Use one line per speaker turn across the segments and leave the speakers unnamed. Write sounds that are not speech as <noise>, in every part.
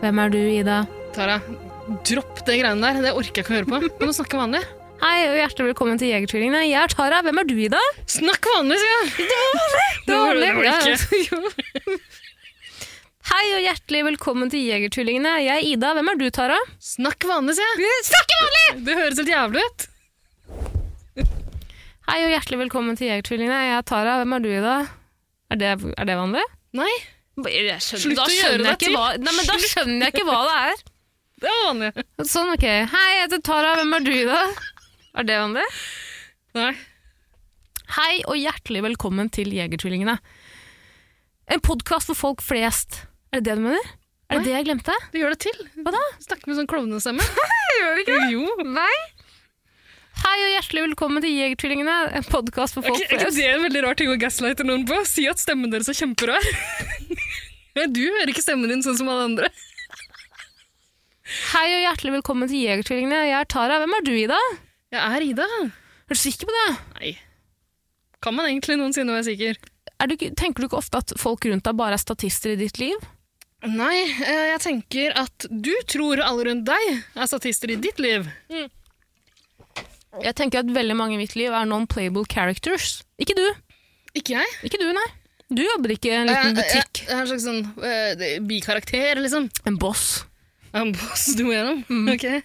Hvem er du, Ida?
Tara, dropp det greiene der. Det orker jeg ikke å høre på. Kan du snakke vanlig?
Hei og hjertelig velkommen til Jegertvillingene. Jeg er Tara. Hvem er du, Ida?
Snakk vanlig, sier jeg!
Det var
Det var det
vanlig.
<laughs> ikke.
Hei og hjertelig velkommen til Jegertvillingene. Jeg er Ida. Hvem er du, Tara?
Snakk vanlig, sier jeg!
Snakk vanlig!
Det høres helt jævlig ut.
Hei og hjertelig velkommen til Jegertvillingene. Jeg er Tara. Hvem er du, Ida? Er det, er det vanlig?
Nei,
Jeg skjønner,
da skjønner jeg ikke hva-
Nei, men da skjønner jeg ikke hva det er.
det var vanlig.
Sånn, ok. Hei, jeg heter Tara. Hvem er du, Ida? Er det vanlig?
Nei.
Hei og hjertelig velkommen til Jegertvillingene. En podkast for folk flest. Er det det du mener? Er det
Nei.
det jeg glemte?
Du gjør det til.
Hva da?
Snakk med sånn klovnestemme.
<laughs> Gjør det
Jo.
Nei. Hei og hjertelig velkommen til Jegertvillingene, en podkast for
Er
folk
ikke, er ikke
flest.
det en veldig rar ting å gaslighte noen på? Si at stemmen deres er
<laughs>
kjemperar. Nei, Du hører ikke stemmen din sånn som alle andre.
Hei og hjertelig velkommen til Jegertvillingene. Jeg er Tara. Hvem er du, Ida?
Jeg er Ida.
Er du sikker på det?
Nei. Kan man egentlig noensinne være sikker?
Er du, ikke- tenker du ikke ofte at folk rundt deg bare er statister i ditt liv?
Nei, eh, jeg tenker at du tror alle rundt deg er statister i ditt liv.
Jeg tenker at veldig mange i mitt liv er non-playable characters. Ikke du.
Ikke jeg.
Ikke du, nei. Du jobber ikke i en
Jeg-
liten
jeg-
butikk.
Jeg er en slags sånn eh, det- bikarakter, liksom.
En boss.
Jeg er En boss du må gjennom.
Mm.
Ok.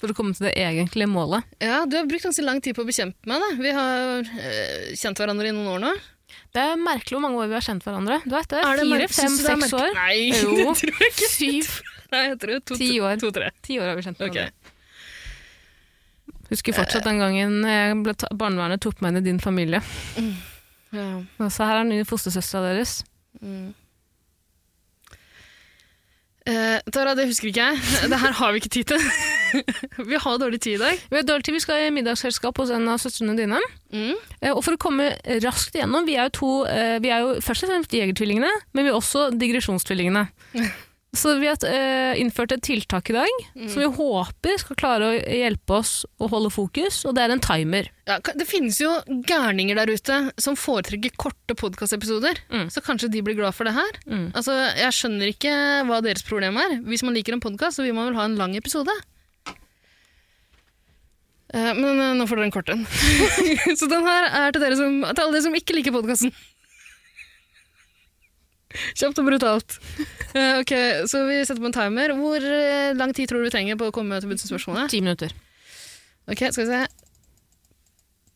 For å komme til det egentlige målet.
Ja, du har brukt ganske lang tid på å bekjempe meg, da. Vi har eh, kjent hverandre i noen år nå.
Det er merkelig hvor mange år vi har kjent hverandre. Du vet det, Fire,
merkelig?
fem,
Synes du det er
seks
merkelig?
år.
Nei, <laughs>
Jo.
det tror jeg ikke.
Syv.
Nei, jeg tror to,
Ti år.
To-tre.
Ti år har vi kjent
Ok.
hverandre. Husker fortsatt den gangen jeg ble ta barnevernet tok meg inn i din familie.
Ja. mm.
Og Så her er den nye fostersøstera deres.
Eh, Tara, det husker ikke jeg. Det her har vi ikke tid til. <laughs> vi har dårlig tid i dag.
Vi har dårlig tid, vi skal i middagsselskap hos en av søstrene dine.
Mm.
Eh, Og for å komme raskt igjennom, vi er jo, to, eh, vi er jo først og fremst jegertvillingene, men vi er også
<laughs>
digresjonstvillingene. Så vi har eh, innført et tiltak i dag
Mm.
som vi håper skal klare å hjelpe oss å holde fokus, og det er en timer.
Ja, ka- det finnes jo gærninger der ute som foretrekker korte podkastepisoder,
Mm.
så kanskje de blir glad for det her.
Mm.
Altså, Jeg skjønner ikke hva deres problem er. Hvis man liker en podkast, så vil man vel ha en lang episode. Eh, men eh, nå får dere en kort en. <laughs> så den her er til, dere som, til alle dere som ikke liker podkasten. Kjapt og brutalt. Eh, ok, Så vi setter på en timer. Hvor eh, lang tid tror du vi trenger på å komme til bunns i spørsmålet?
Ti minutter.
Ok, skal vi se.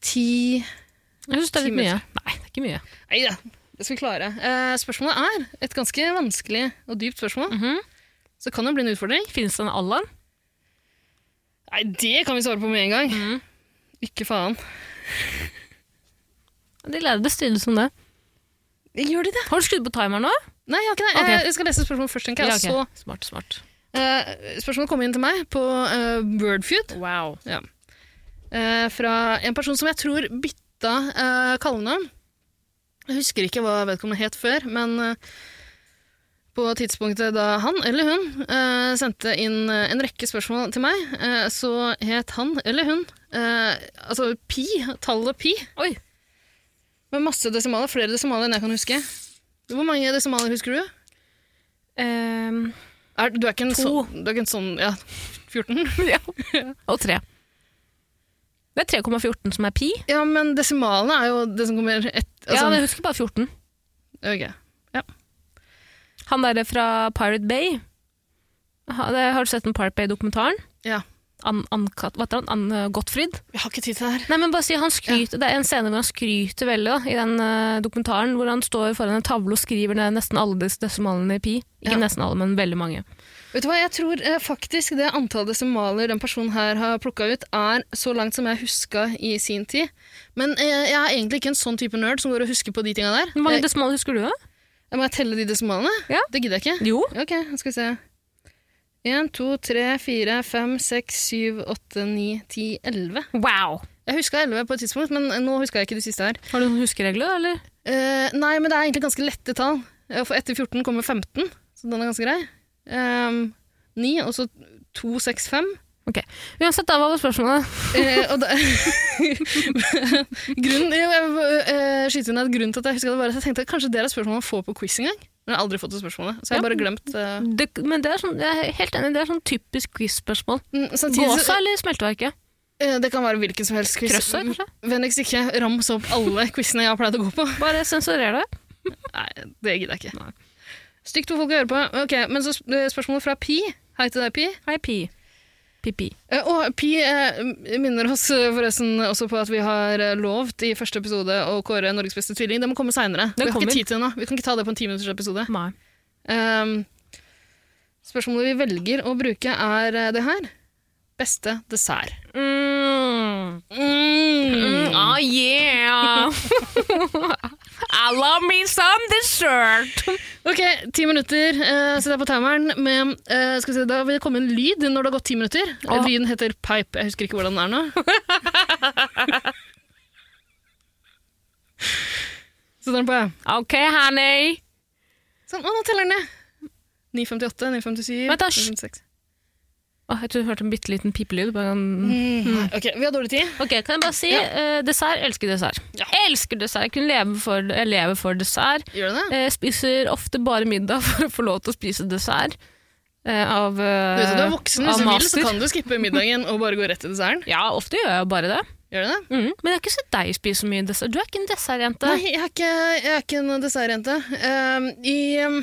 Ti
Jeg syns det er
Ti
litt mye. Nei, det er ikke mye.
Nei da, det skal vi klare. Eh, spørsmålet er et ganske vanskelig og dypt spørsmål.
Mhm.
Så kan det bli en utfordring.
Finnes det en alarm?
Nei, det kan vi svare på med en gang.
Mhm.
Ikke faen.
De lærde strides om det.
Gjør de det?
Har du skrudd på timeren nå?
Nei, jeg har ikke det.
Ok.
Eh, Jeg skal lese spørsmålet først, tenker jeg.
Ja,
og
ok. Smart, smart.
Så, eh, spørsmålet kom inn til meg på eh, Wordfeud
Wow.
eh, fra en person som jeg tror bytta eh, kallenavn. Jeg husker ikke hva vedkommende het før, men eh, på tidspunktet da han eller hun eh, sendte inn eh, en rekke spørsmål til meg, eh, så het han eller hun eh, altså pi, tallet pi,
Oi.
med masse desimaler, flere desimaler enn jeg kan huske. Hvor mange desimaler husker du?
Ehm, <laughs>
Er, du, er ikke en
To.
Sånn, du er ikke en sånn Ja, 14?
<laughs> ja. Og tre. Det er 3,14 som er pi.
Ja, men desimalene er jo det som kommer et...
ja,
Altså,
men jeg husker bare 14.
ok.
Han derre fra Pirate Bay ha, det, Har du sett den Pirate Bay-dokumentaren?
Ja.
An, Ann-Kat- hva heter han? Ann eh, Gottfried?
Jeg har ikke tid til det her.
Nei, men bare si han skryter. Det er en scene hvor han skryter veldig da, i den eh, dokumentaren, hvor han står foran en tavle og skriver ned nesten alle disse desimalene i pi. Ikke
Ja.
nesten alle, men veldig mange.
Vet du hva, Jeg tror eh, faktisk det antall desimaler den personen her har plukka ut, er så langt som jeg huska i sin tid. Men eh, jeg er egentlig ikke en sånn type nerd som går og husker på de tinga der.
Hvor mange
Eh,
desimaler husker du, da?
jeg må jeg telle de desimalene?
Ja.
Det gidder jeg ikke.
Jo.
Ok, skal vi se. 1, 2, 3, 4, 5, 6, 7, 8, 9, 10, 11.
Wow!
Jeg huska 11 på et tidspunkt, men nå huska jeg ikke de siste her.
Har du noen huskeregler, eller?
Eh, nei, men det er egentlig ganske lette tall. Eh, For etter 14 kommer 15, så den er ganske grei. Ehm, 9, og så 2, 6, 5.
Uansett, da var det spørsmålet.
Eh, og da, <laughs> grunnen, jeg, jeg, eh, skyter inn at grunnen til at jeg husker det, var at jeg tenkte at kanskje det er et spørsmål man får på quiz en gang. Men jeg har aldri fått det spørsmålet, så jeg har bare glemt eh,
Det, men det er sånn, jeg er helt enig, det er sånn typisk quiz-spørsmål.
mm, Samtidig
Gåsa
så
eller smelteverket?
eh, Det kan være hvilken som helst quiz.
Krøsset, kanskje?
Vennligst ikke rams opp alle quizene jeg har pleid å gå på.
Bare sensurer det.
Nei, det gidder jeg ikke. Stygt for folk å høre på. Ok, Men så sp- eh, spørsmålet fra Pi. Hei til deg, Pi.
Hei, pi. Pi-pi.
Eh, Og Pi eh, minner oss eh, forresten også på at vi har eh, lovt i første episode å kåre Norges beste tvilling. Det må komme seinere. Vi
Den
har
kommer.
ikke tid til det nå. Vi kan ikke ta det på en timinuttersepisode. episode.
Nei.
Ehm, spørsmålet vi velger å bruke, er eh, det her. Beste dessert.
Mm.
Mm.
Mm, oh yeah! <laughs> I love me some dessert!
Ok, ti minutter. Uh, Sett deg på timeren. Med, eh, skal vi se, da vil det komme en lyd når det har gått ti minutter.
Åh.
Lyden heter pipe. Jeg husker ikke hvordan den er nå.
<laughs>
Setter den på, ja.
Ok, honey.
Sånn, å, nå teller den ned. 9.58, 9.57
Vent da, hysj.
9.56.
Åh, jeg tror du hørte en bitte liten pipelyd. Bare en...
Nei, Mhm. Ok, vi har dårlig tid.
Ok, Kan jeg bare si eh, dessert? Elsker dessert.
Ja.
Elsker dessert. Jeg kunne leve for, jeg lever for dessert.
Gjør du det?
Eh, spiser ofte bare middag for å få lov til å spise dessert. eh, av eh,
Du vet at du er voksen,
av
hvis du vil, så
master.
kan du skippe middagen og bare gå rett til desserten.
Ja, ofte gjør jeg bare det.
Gjør du det?
Mm. Men jeg har ikke sett deg spise så mye dessert. Du er ikke en dessertjente.
Nei, jeg er ikke, jeg er ikke en dessertjente. Um, I um,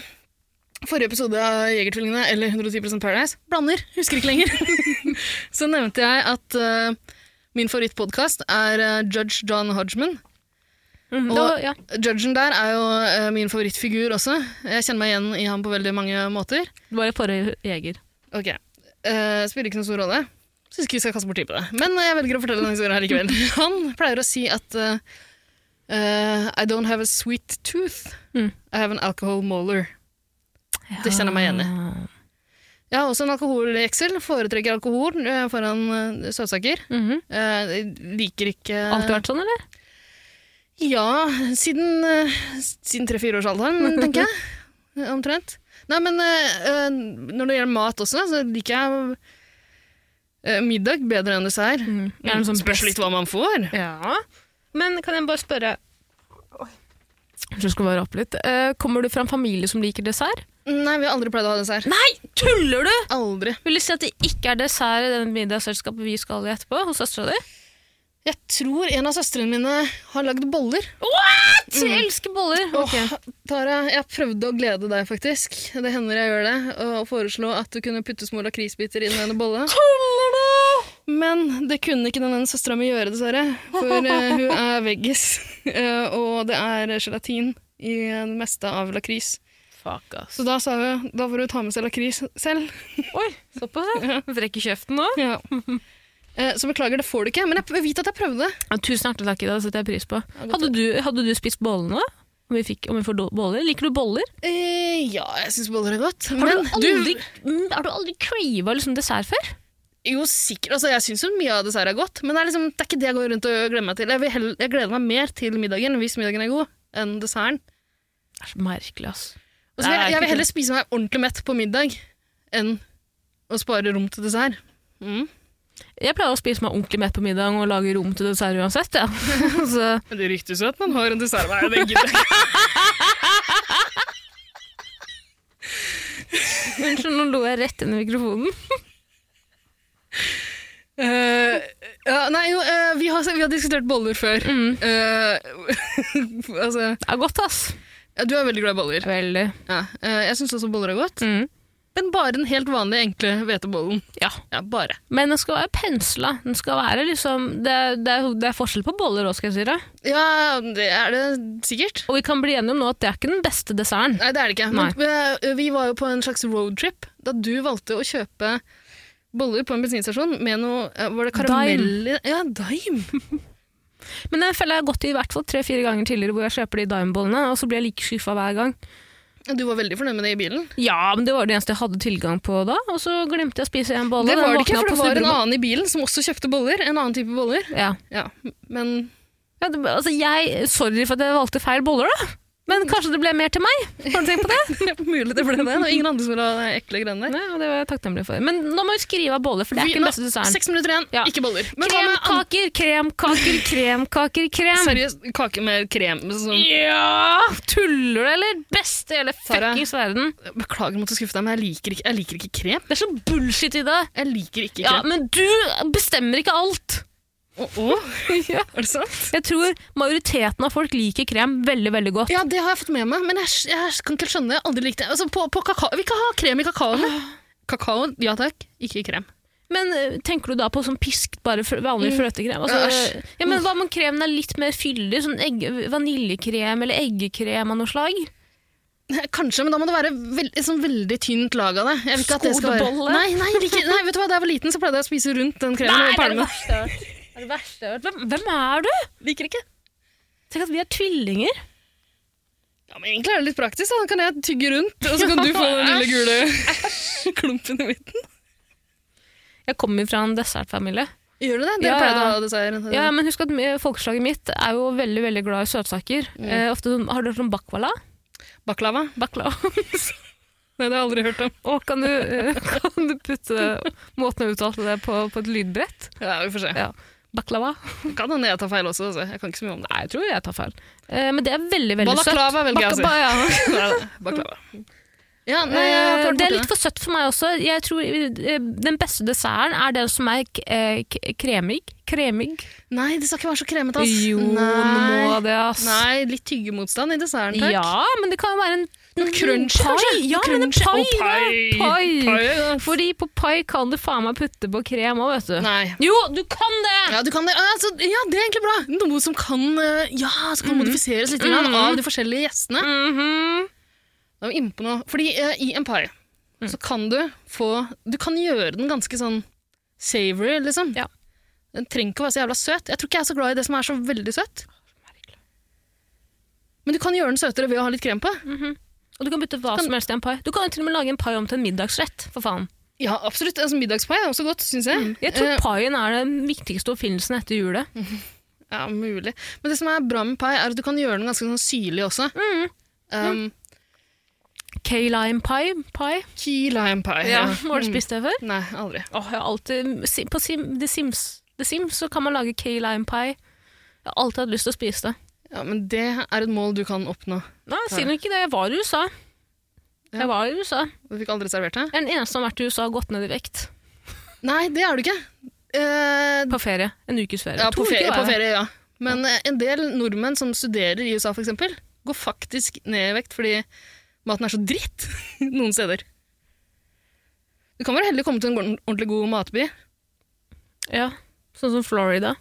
forrige episode av Jegertvillingene, eller 110 Paradise, blander, husker ikke lenger, <laughs> så nevnte jeg at uh, min favorittpodkast er uh, Judge John Hodgman.
Mm,
Og-
da, ja.
Judgen der er jo uh, min favorittfigur også. Jeg kjenner meg igjen i ham på veldig mange måter.
Du var i forrige jeger.
Ok, eh, spiller ikke noen stor rolle. Syns ikke vi skal kaste bort tid på det. Men jeg velger å fortelle denne historien her likevel. Han pleier å si at eh, eh, I don't have a sweet tooth.
Mm.
I have an alcohol molar. Det kjenner jeg meg igjen
i.
Jeg har også en alkoholjeksel. Foretrekker alkohol eh, foran eh, søtsaker. Eh, liker ikke
Mhm. Alltid vært sånn, eller?
Ja, siden, eh, siden tre-fireårsalderen, tenker jeg. Eh, Omtrent. Nei, men eh, eh, når det gjelder mat også, så liker jeg eh, middag bedre enn dessert.
Gjerne sånn
mm. Spørs litt hva man får.
Ja. Men kan jeg bare spørre Kanskje du skal være opp litt. Eh, kommer du fra en familie som liker dessert?
Nei, vi har aldri pleid å ha dessert.
Nei, tuller du?!
Aldri.
Vil du si at det ikke er dessert i det middagsselskapet vi skal i etterpå, hos søstera di?
Jeg tror en av søstrene mine har lagd boller.
What?! Jeg elsker boller! Ok.
Åh, Tara, jeg prøvde å glede deg, faktisk. Det hender jeg gjør det. Og foreslo at du kunne putte små lakrisbiter inn i en bolle.
Tuller du?!
Men det kunne ikke den ene søstera mi gjøre, dessverre. For eh, hun er veggis, <laughs> eh, og det er gelatin i det meste av lakris.
Fuck, ass.
Så da sa hun da får hun ta med seg lakris selv.
<laughs> Oi, såpass, <laughs> ja. Vrekk i kjeften nå.
<laughs> Ja. Eh, Så beklager, det får du ikke, men jeg vet at jeg prøvde.
Ja, tusen hjertelig takk, Ida. Det setter jeg pris på.
godt.
Hadde du, hadde du spist bollene? Om vi, fikk, om vi får do- boller? Liker du boller?
Eh, ja, jeg syns boller er godt.
Har
men
du aldri, mm, har du aldri crava liksom dessert før?
Jo, sikkert. Altså, jeg syns jo mye av dessert er godt, men det er, liksom, det er ikke det jeg går rundt og gleder meg til. Jeg, vil heller, jeg gleder meg mer til middagen hvis middagen er god, enn desserten.
Det er så merkelig, ass.
Og så vil
Nei,
jeg,
ikke
jeg vil heller spise meg ordentlig mett på middag enn å spare rom til dessert. Mm.
Jeg pleier å spise meg ordentlig mett på middag og lage rom til dessert uansett. Ja. <laughs> Så,
Men det ryktes jo at man har en dessert hver dag. <laughs>
unnskyld, nå lo jeg rett inn i mikrofonen.
Eh, ja, nei, jo, eh, vi, har, vi har diskutert boller før.
Mm.
Eh, <laughs> altså,
Det er godt, ass.
ja, du er veldig glad i boller.
Veldig.
Ja, eh, jeg syns også boller er godt.
Mm.
Men bare den helt vanlige, enkle hvetebollen.
Ja.
Ja, bare.
Men den skal være pensla. Den skal være liksom, det, er- det, er, det er forskjell på boller òg, skal jeg si deg.
Ja, det er det sikkert.
Og vi kan bli enige om nå at det er ikke den beste desserten.
Nei, det er det ikke. Men, eh, vi var jo på en slags roadtrip da du valgte å kjøpe boller på en bensinstasjon med noe eh, Var det karamell i Ja, Dime.
Men den fella jeg har gått i i hvert fall tre-fire ganger tidligere hvor jeg kjøper de Dime-bollene, og så blir jeg like skuffa hver gang.
Du var veldig fornøyd med det i bilen.
Ja, men det var det eneste jeg hadde tilgang på da. Og så glemte jeg å spise en bolle.
det var
den
det ikke,
våkna
for det
på
var en
snublemåten.
annen i bilen som også kjøpte boller. En annen type boller.
Ja.
Ja, men
Ja, det, altså jeg, sorry for at jeg valgte feil boller, da. Men kanskje det ble mer til meg? Har du tenkt på det?
<laughs> mulig det ble det. Det var ingen andre som ville ha de ekle greiene der.
Nei, og det var jeg takknemlig for. Men nå må vi skrive av boller, for det er
Vi-
ikke den
nå,
beste desserten.
Seks minutter igjen,
Ja.
ikke boller. Men hva med an-
Kremkaker, kremkaker, kremkaker, krem.
Seriøst, kake med krem? Sånn.
Ja! Tuller du, eller? Beste i hele
Sara.
fuckings verden.
Beklager, måtte skuffe deg, men jeg liker ikke, jeg liker ikke krem.
Det er så bullshit i det.
Jeg liker ikke
Ja,
krem.
men du bestemmer ikke alt. <laughs>
Å, å, er det sant?
Jeg tror majoriteten av folk liker krem veldig, veldig godt.
Ja, det har jeg fått med meg, men jeg, jeg kan ikke helt skjønne. Jeg har aldri likt det. Altså, på, på kakao. Vi kan ha krem i kakaoen. Kakao, ja takk. Ikke krem.
Men eh, tenker du da på sånn piskt, bare fr- vanlig fløtekrem? Altså,
Æsj.
ja, men hva om kremen er litt mer fyldig? Sånn egg, vaniljekrem eller eggekrem av noe slag?
Kanskje, men da må det være vel, et sånn veldig tynt lag av det. Jeg vil ikke at det skal være...
Skolebolle?
Nei, nei, jeg liker- nei, vet du hva? Da jeg var liten, så pleide jeg å spise rundt den kremen. og
det er
palme.
det verste jeg har hørt. Det er det verste jeg har hørt. Hvem, hvem er du?
Liker ikke.
Tenk at vi er tvillinger.
Ja, men egentlig er det litt praktisk. Da Da kan jeg tygge rundt, og så kan du få den lille <laughs> gule klumpen i midten.
Jeg kommer fra en dessertfamilie.
Gjør du det? Dere
Ja,
pleier å
ja.
ha dessert.
Ja, men husk at eh, folkeslaget mitt er jo veldig veldig glad i søtsaker. Eh, ofte, sånn- har du hørt om bakvala?
Baklava?
<laughs> Baklava.
Nei, det har jeg aldri hørt om.
Og kan du, eh, <laughs> kan du putte måten jeg uttalte det på, på et lydbrett?
Ja, vi får se.
Ja. Baklava.
Kan hende jeg tar feil også, altså. Jeg kan ikke så mye om det.
Nei, jeg tror jeg tar feil. Eh, men det er veldig, veldig søtt.
Balaklava velger jeg å si.
Bakaba, ja.
Nei, Baklava. Ja, nei, jeg har
Eh,
klart
det er
borti
litt for søtt for meg også. Jeg tror eh, Den beste desserten er den som er k eh, k kremig. Kremig.
Nei, det skal ikke være så kremete, ass.
Jo, nå må
nei.
det, ass.
nei, litt tyggemotstand i desserten, takk.
Ja, men det kan jo være en
Crunch,
pai.
kanskje?
Ja, men en
Crunch.
pai,
Å,
da. Pai.
Pai, ja.
Fordi på pai kan du faen meg putte på krem òg, vet du.
Nei.
Jo, du kan det!
Ja, du kan det. Altså, ja, det er egentlig bra. Noe som kan, eh, ja, som kan modifiseres litt grann av de forskjellige gjestene.
Mhm.
Da er vi inne på noe. Fordi eh, i en pai
Mm.
så kan du få Du kan gjøre den ganske sånn savory, liksom.
Ja.
Den trenger ikke å være så jævla søt. Jeg tror ikke jeg er så glad i det som er så veldig søtt. Men du kan gjøre den søtere ved å ha litt krem på.
Mm. Og du kan putte hva
Kan-
som helst i en pai. Du kan jo til og med lage en pai om til en middagsrett, for faen.
Ja, absolutt. Altså, middagspai er også godt, syns jeg.
Mm. Jeg tror
Eh, Mm.
paien er den viktigste oppfinnelsen etter julet.
Ja, mulig. Men det som er bra med pai, er at du kan gjøre den ganske sånn syrlig også.
Mm.
Um,
K-lime pie. pie.
key lime pie.
Ja. Har du spist det før?
Nei, aldri.
Åh, jeg har alltid, si- på Sim, The, Sims, The Sims så kan man lage K-lime pie. Jeg har alltid hatt lyst til å spise det.
Ja, Men det er et mål du kan oppnå.
Nei, si nå ikke det. Jeg var i USA. Jeg var i USA.
Du fikk aldri servert det?
Jeg er den eneste som har vært i USA og gått ned i vekt.
Nei, det er du ikke. Eh,
På ferie. En ukes ferie.
ja,
To
på
uker
ferie,
var
på
jeg.
ferie, ja. Men eh, en del nordmenn som studerer i USA, for eksempel, går faktisk ned i vekt fordi maten er så dritt <laughs> noen steder. Du kan være heldig å komme til en gor- ordentlig god matby.
Ja, Sånn som Florida.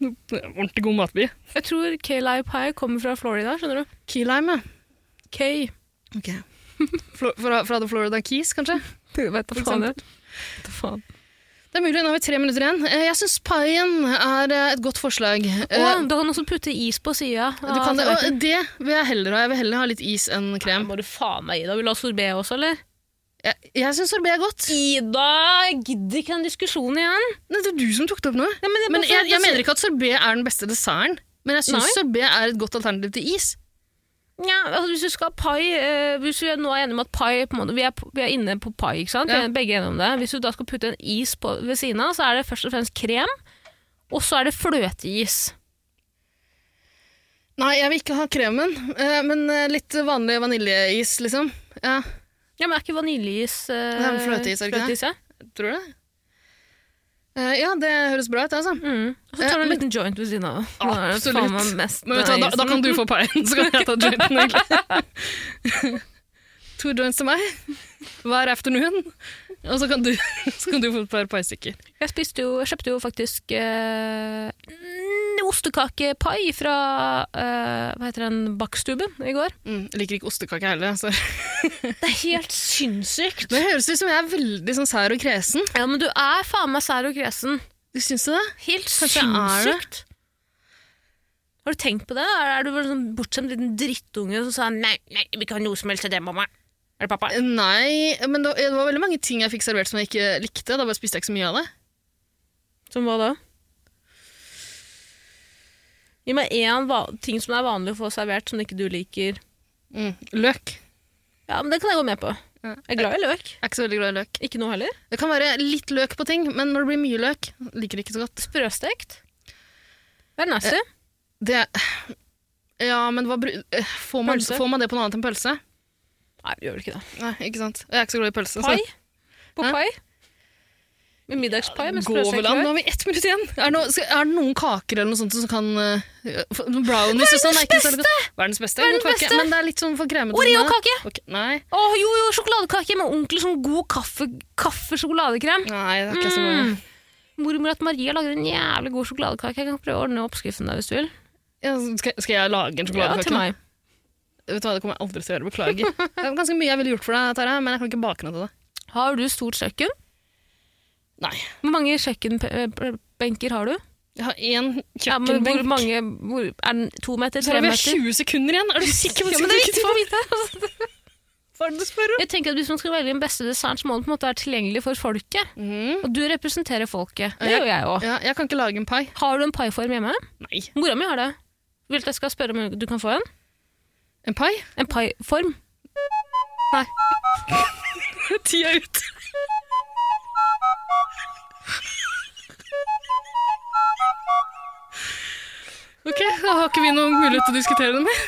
Ordentlig god matby.
Jeg tror K-lime pie kommer fra Florida, skjønner du.
Key lime, ja.
K.
Ok. <laughs> Flo- Fra, fra The Florida Keys, kanskje?
Du <laughs> vet da
For
faen. jeg.
eksempel.
Vet da faen.
Det er mulig, nå har vi tre minutter igjen. Eh, Jeg syns paien er eh, et godt forslag. Eh,
Å, du kan også putte is på sida.
Du kan det, og det vil jeg heller ha. Jeg vil heller ha litt is enn krem.
Må du faen meg gi deg? Vil du ha sorbé også, eller?
Jeg, jeg syns sorbé er godt.
Ida, jeg gidder ikke den diskusjonen igjen.
Nei, det er du som tok det opp nå.
Nei, men
Men jeg, jeg mener ikke at sorbé er den beste desserten. Men jeg
Nei.
syns sorbé er et godt alternativ til is.
ja, altså, Hvis du skal ha pai eh, Hvis vi nå er enige om at pai på en måte, vi, er, vi er inne på pai, ikke sant? Vi
Ja.
er Begge er enige om det. Hvis du da skal putte en is på, ved siden av, så er det først og fremst krem, og så er det fløteis.
Nei, jeg vil ikke ha kremen, eh, men eh, litt vanlig vaniljeis, liksom. Ja,
Ja, men er ikke vaniljeis eh,
Det er vel fløteis, er det ikke det?
fløteis, ja?
tror du det? Eh, Ja, det høres bra ut, altså.
Mm. Og så
Eh,
tar du en
men-
liten joint ved siden av.
Absolutt.
Da er det faen meg mest
Men vet du hva, da, da kan du få paien, så kan jeg ta jointen, egentlig. <laughs> to joints til meg hver afternoon, og så kan du, så kan du få et par paistykker.
Jeg spiste jo, jeg kjøpte jo faktisk eh, mm, ostekakepai fra eh, hva heter den, bakstuben i går.
Mm, jeg liker ikke ostekake heller. altså. Så.
Det er helt sinnssykt.
Det høres ut som jeg er veldig sånn sær og kresen.
Ja, men du er faen meg sær og kresen.
Du syns det?
Helt
Kanskje jeg er det?
sinnssykt. Har du tenkt på det? Er, er du bare sånn bortskjemt liten drittunge som sa nei, nei, vi kan ha noe som helst til det, mamma? Er det pappa?
Eh, Nei, men det var, det var veldig mange ting jeg fikk servert som jeg ikke likte. Da bare spiste jeg ikke så mye av det.
Som hva da? Gi meg én va- ting som er vanlig å få servert som ikke du liker. Mm.
Løk.
Ja, men Det kan jeg gå med på.
Ja.
Jeg er glad i løk.
Jeg er ikke så veldig glad i løk.
Ikke noe heller.
Det kan være litt løk på ting, men når det blir mye løk, liker det ikke så godt.
Sprøstekt. Det er nasty.
Det Ja, men hva bru... eh, Får man,
Pølse.
får man det på noe annet enn pølse?
Nei, vi gjør vel ikke det.
Nei, ikke sant. Jeg er ikke så glad i pølse.
Pai?
så-
På
Hæ?
pai? Med middagspai med
Går vel
sprøstekt
an?
løk?
Nå har vi ett minutt igjen. Er det, noe, skal, er det noen kaker eller noe sånt som kan eh, for- Brownies og sånn er ikke så veldig godt. Verdens beste! er
Verdens
god kake,
beste!
Men det er litt sånn for kremete.
Oreo-kake!
Ok, Nei.
Å, jo, jo, sjokoladekake med ordentlig sånn god kaffe, kaffe-sjokoladekrem.
Nei, det er ikke så bra.
Mm. Mormor at Maria lager en jævlig god sjokoladekake. Jeg kan prøve å ordne oppskriften der hvis du vil.
Ja, skal, skal jeg lage en
Ja,
sjokoladekake?
til meg.
Vet du hva, Det kommer jeg aldri til å gjøre. Beklager. Det er ganske mye jeg ville gjort for deg, Tara, men jeg kan ikke bake noe til det.
Har du stort kjøkken?
Nei.
Hvor mange kjøkkenbenker har du?
Jeg har én
Ja, men
kjøkkenbenk.
hvor mange, hvor, er den to meter,
Tara,
tre
vi har
meter?
20 sekunder igjen! Er du sikker på
Ja,
at
men det er
ikke
viktig for å vite.
Hva er det du spør om?
Jeg tenker at Hvis man skal velge den beste desserten, så må den på en måte være tilgjengelig for folket.
Mm.
Og du representerer folket.
Ja.
Mhm. Det gjør jeg òg.
Ja, jeg kan ikke lage en pai.
Har du en paiform hjemme?
Nei.
Mora mi har det. Vil du at jeg skal spørre om du kan få en?
En pai?
En paiform?
<laughs> Tida er ute. Ok, da har ikke vi noen mulighet til å diskutere det mer.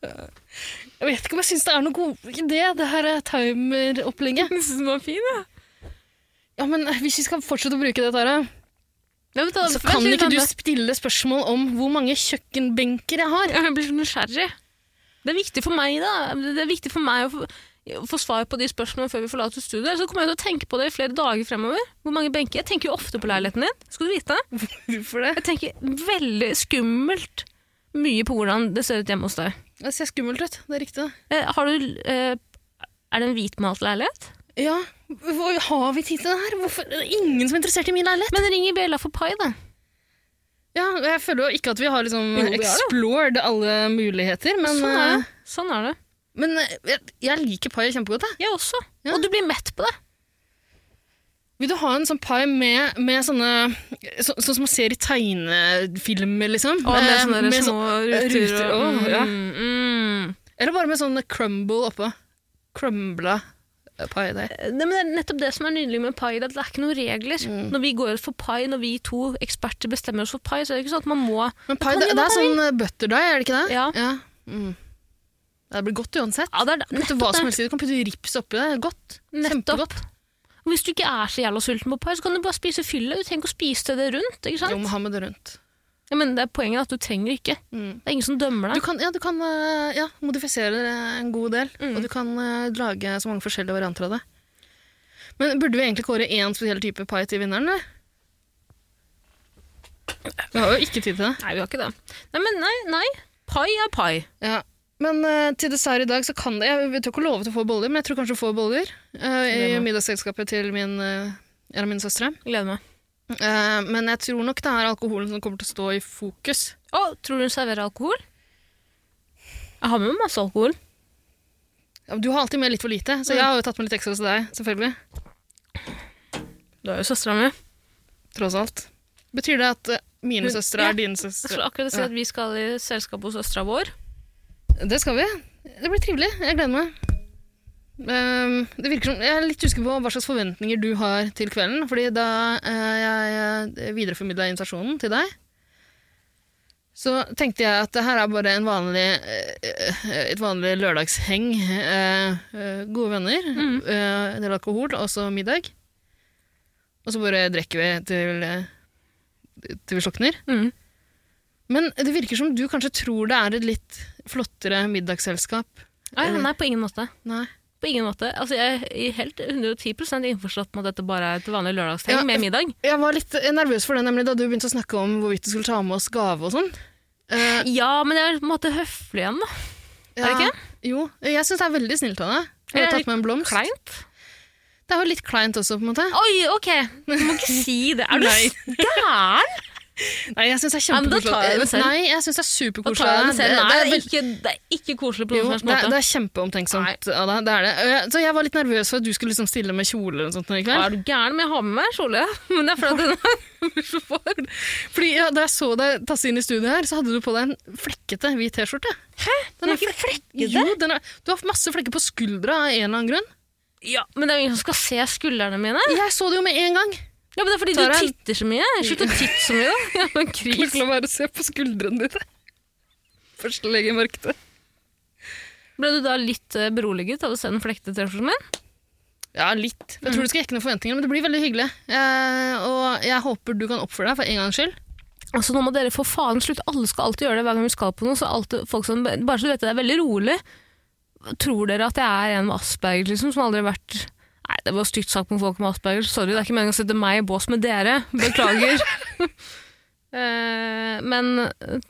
Jeg vet ikke om jeg syns det er noe god idé, det her er timer-opplegget.
Jeg synes <laughs> den var fin, ja.
Ja, men hvis vi skal fortsette å bruke det, Tara,
men da-
så
vent
kan
litt,
ikke du
vent litt.
stille spørsmål om hvor mange kjøkkenbenker jeg har.
Jeg blir så nysgjerrig. Det er viktig for meg, da. Det er viktig for meg å få, å få svar på de spørsmålene før vi forlater studiet. Så kommer jeg til å tenke på det i flere dager fremover. Hvor mange benker? Jeg tenker jo ofte på leiligheten din. Skal du vite?
Hvorfor det?
Jeg tenker veldig skummelt mye på hvordan det ser ut hjemme hos deg.
Det ser skummelt ut, det er riktig. det.
Eh, har du eh, Er det en hvitmalt leilighet?
Ja, hvor har vi tid til det her? Hvorfor? Det er ingen som er interessert i min leilighet.
Men ring i bjella for pai, da.
Ja, jeg føler jo ikke at vi har liksom
Jo, vi har det.
explored alle muligheter, men,
Sånn er
eh,
det. Sånn er det.
men eh, jeg, jeg liker pai kjempegodt. Jeg.
Jeg også.
Ja.
Og du blir mett på det.
Vil du ha en sånn pai med, med sånne så, Sånn som man ser i tegnefilmer, liksom?
Og med
Eh,
sånne
med
små
sånn-
ruter.
ruter
og,
å, ja.
mm, mm.
Eller bare med sånn crumble oppå. Crumbla eh, pai der.
Nei, men det er nettopp det som er nydelig med pai. Det er at det er ikke noen regler. Når vi går ut for pai, når vi to eksperter bestemmer oss for pai, så er det ikke sånn at man må
Men pai,
Kan
det,
jo
det er
være
sånn eh, butter dye, er det ikke det?
Ja.
Mm. Det blir godt uansett.
Ja, det er
Du kan putte
nettopp
hva som
det.
helst i det. Du kan putte rips oppi det. Godt.
Nettopp.
Kjempegodt.
Og Hvis du ikke er så jævla sulten på pai, så kan du bare spise fyllet. Du trenger ikke å spise det rundt. ikke
Jo,
sant?
må ha med det rundt.
Ja, men det er Poenget er at du trenger ikke.
Mm.
Det er ingen som dømmer
Du
deg.
kan, ja, du kan eh, ja, modifisere det en god del, og du kan eh, lage så mange forskjellige varianter av det. Men burde vi egentlig kåre én spesiell type pai til vinneren, eller? Vi har jo ikke tid til det.
Nei, vi har ikke det. Nei, men nei, nei. Pai er pai.
Ja. Men eh, til dessert i dag så kan det Jeg vet jo ikke love til å få boller, men jeg tror kanskje du får boller eh, i
Gleder meg.
middagsselskapet til min, eh, en av mine søstre.
Gleder meg.
Eh, men jeg tror nok det er alkoholen som kommer til å stå i fokus.
Å, tror du hun serverer alkohol? Jeg har med meg masse alkohol.
Ja, men Du har alltid med litt for lite, så jeg har jo tatt med litt ekstra til deg, selvfølgelig.
Du er jo søstera mi.
Tross alt. Betyr det at eh, mine
Hun-
søstre
ja.
er dine
Jeg skulle
søstre?
akkurat si at vi skal i selskap hos søstera vår.
Det skal vi. Det blir trivelig. Jeg gleder meg. Ehm, det virker som, jeg er litt usikker på hva slags forventninger du har til kvelden. fordi da eh, jeg videreformidla invitasjonen til deg, så tenkte jeg at det her er bare en vanlig, eh, eh, et vanlig lørdagsheng. eh, eh, gode venner,
Mhm.
eh, en del alkohol, og så middag. Og så bare drikker vi til, eh, til vi slukner.
Mm.
Men det virker som du kanskje tror det er et litt flottere middagsselskap.
Nei, nei, på ingen måte.
Nei.
På ingen måte. Altså, jeg er helt 110 innforstått med at dette bare er et vanlig lørdagstegn
Ja.
med middag.
Jeg var litt eh, nervøs for det nemlig da du begynte å snakke om hvorvidt du skulle ta med oss gave og sånn. Eh,
Ja, men jeg er på en måte høflig igjen, da. Er det
ja. Jo, jeg syns det er veldig snilt av deg. Jeg
Er
har
det
tatt med en blomst.
Kleint.
Det er jo litt kleint også, på en måte.
Oi, ok! Du må ikke si det. Er du
Nei.
gæren?
Nei, jeg syns det er
Ja, men da tar jeg det
kjempekoselig.
selv.
Nei, jeg syns det er
Da tar jeg
superkoselig.
den selv. Nei, det,
vel-
er ikke, det er ikke koselig på
Jo,
noen
det,
som helst måte.
er- det er kjempeomtenksomt av deg. Det er det. Og jeg- Så jeg var litt nervøs for at du skulle liksom stille med kjole eller noe sånt nå i
Ja,
kveld.
Er du gæren? Men jeg har med meg kjole. <laughs> Men det er fordi at den er <laughs> så for.
Fordi ja, Da jeg så deg tasse inn i studio her, så hadde du på deg en flekkete hvit T-skjorte. Hæ?
Den
Den er
er ikke
flekkete? Jo, den er, du har masse flekker på skuldra av en eller annen grunn.
Ja, men det er jo ingen som skal se skuldrene mine.
Jeg så det jo med en <laughs> gang.
Ja, men det er fordi
Tara-
du titter så mye. Slutt å titte så mye, <laughs> da. Jeg har en kris.
la være å se på skuldrene dine. Først legger jeg merke til.
Ble du da litt eh, beroliget av å se den flekte T-skjorten min?
Ja, litt. Jeg tror du skal jekke noen forventninger, men det blir veldig hyggelig. Eh, og jeg håper du kan oppføre deg for en gangs skyld.
Altså, nå må dere for faen slutte. Alle skal alltid gjøre det hver gang vi skal på noe. Så alltid, folk som, bare så du vet det, det er veldig rolig. Tror dere at jeg er en med Asperger, liksom, som aldri har vært Nei, det var stygt sagt mot folk med Asperger. Sorry, det er ikke meningen å sette meg i bås med dere. <laughs> Beklager. Eh, men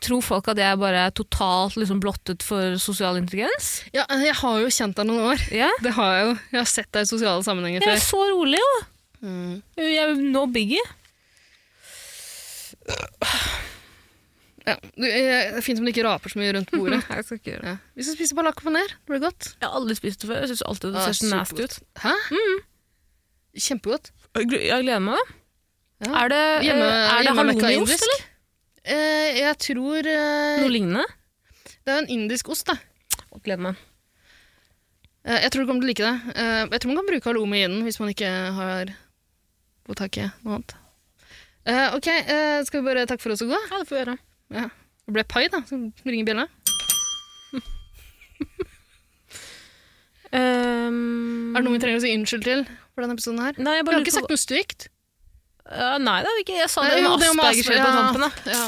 tror folk at jeg bare er totalt liksom, blottet for sosial intelligens?
Ja, eh, jeg har jo kjent deg noen år. <laughs>
Ja?
Det har jeg jo. Jeg har sett deg i sosiale sammenhenger
Jeg er
før.
så rolig, jo.
Mm.
Jeg er no biggie.
Ja, du, eh, det er fint om du ikke raper så mye rundt bordet.
Jeg skal ikke gjøre
<laughs> Ja. Vi skal spise balakkopaner. Det blir godt.
Jeg har aldri spist det før. Jeg syns alltid det
Ah,
ser så nasty ut.
supergodt. Hæ? Kjempegodt.
Jeg gl- jeg gleder meg.
Ja.
Er det, eh,
Hjemme,
er det
hjemmelekka
halloumiost,
indisk?
eller?
Eh, jeg tror eh,
Noe lignende?
Det er en indisk ost, da.
Jeg Gleder meg.
Eh, jeg tror du kommer til å like det. Eh, jeg tror man kan bruke halloumi i den hvis man ikke har på taket noe annet. Eh, ok, eh, skal vi bare takke for oss og gå?
Ja, det får vi gjøre.
Ja. Det ble pai, da. Skal vi ringe bjella?
Ehm,
Er det noe vi trenger å si unnskyld til for denne episoden her?
Nei, jeg
Vi
bare
har ikke
lurer på
sagt noe stygt.
Ja, Nei, det er ikke Jeg sa
Nei,
det
jo,
med
det med
Asperger-skjell på
Asperger,
tampen. da.
Ja.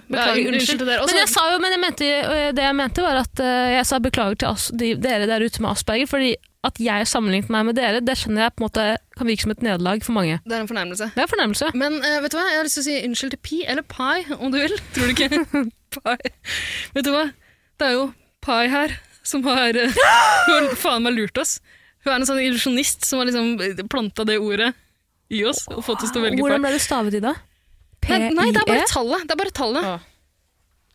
Ja,
beklager. unnskyld til dere. Også,
men jeg sa jo, men jeg mente, øh, det jeg mente, var at øh, jeg sa beklager til as de, dere der ute med Asperger, fordi at jeg sammenlignet meg med dere, det skjønner jeg på en måte kan virke som et nederlag for mange.
Det er en fornærmelse.
Det er en fornærmelse.
Men eh, vet du hva? Jeg har lyst til å si unnskyld til pi, eller pai, om du vil. Tror du
<laughs>
ikke? pai. Vet du hva? Det er jo pai her som har eh, Hun har faen meg lurt oss. Hun er en sånn illusjonist som har liksom planta det ordet i oss og fått oss til å velge
Hvordan
pai.
ble det stavet i da?
Nei, nei, det
P-I-E?
er bare tallet. Det er bare tallet.
Ja.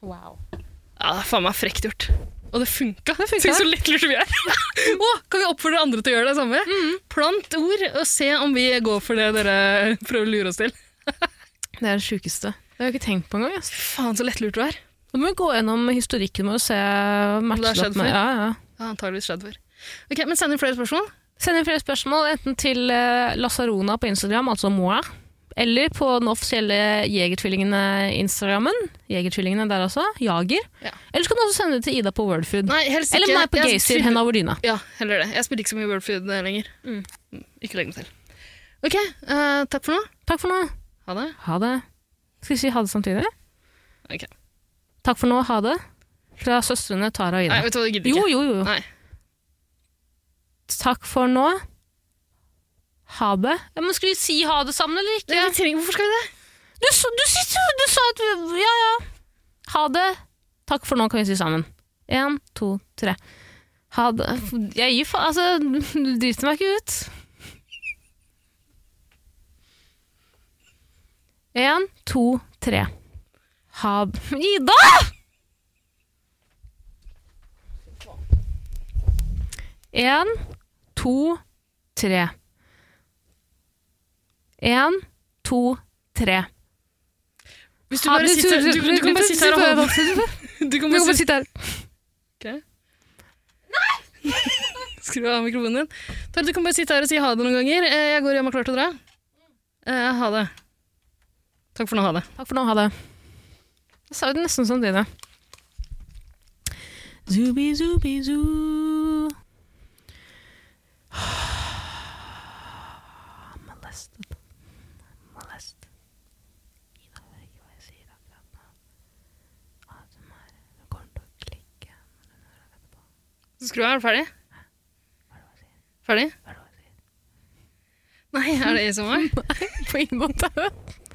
Wow.
Ja, det er faen meg frekt gjort. Og det funka.
Det funka.
Tenk så lettlurte vi
<laughs>
er. Å, kan vi oppfordre andre til å gjøre det samme?
Mm.
Plant ord, og se om vi går for det dere prøver å lure oss til.
Det er det sjukeste. Det har jeg ikke tenkt på engang. ass.
Faen, så lettlurt du er.
Da må vi gå gjennom historikken vår og se matche
det har
det opp
skjedd
med.
før?
Ja, ja.
Det har antageligvis skjedd før. Ok, men Send inn flere spørsmål.
Send inn flere spørsmål, enten til eh, Lasarona på Instagram, altså moi, eller på den offisielle Jegertvillingene-instagrammen. Jegertvillingene der altså. Jager.
Ja.
Eller så kan du også sende det til Ida på Worldfood.
Nei, helst
Eller
ikke.
meg på
Jeg
Gaysir,
spiller-
henne over dyna.
Ja, heller det. Jeg spiller ikke så mye Worldfood lenger.
Mm.
Mm, Ikke legg meg til. Ok, eh, takk for nå.
Takk for nå.
Ha det.
Ha det. Skal vi si ha det samtidig?
Ok.
Takk for nå, ha det. Fra søstrene Tara og
Nei,
Ida.
vet du hva, det gidder
jo,
ikke.
jo, jo.
Nei.
Takk for nå. Ha det. Ja, men skal vi si ha det sammen, eller ikke?
Nei, vi trenger, hvorfor skal vi det?
Du, s- du, s- du sa at vi, Ja, ja. Ha det. Takk for nå, kan vi si sammen. Én, to, tre. Ha det. Jeg gir faen Altså, du driter meg ikke ut. Én, to, tre. Ha Ida! Én, to, tre. Én, to, tre.
Hvis du bare sitter Du, du kan bare sitte her og holde Du kan
Du
bare
kan bare
sitte
sitte her.
Ok. Skru av mikrofonen din. Tara, du kan bare sitte her og si ha det noen ganger. Eh, Jeg går hjem og er klar til å dra. Eh, Ha det. Takk for nå. Ha det.
Takk for nå, ha det. Jeg sa jo det nesten som dine. Zubi, zubi, zoo. Molested. Molested. Ida, jeg vet ikke hva jeg sier akkurat nå. ASMR. Hun kommer til å klikke.
Skru av. Er du ferdig? Ferdig?
Hva er det hun sier?
Nei, er det ASMR?
På ingen måte.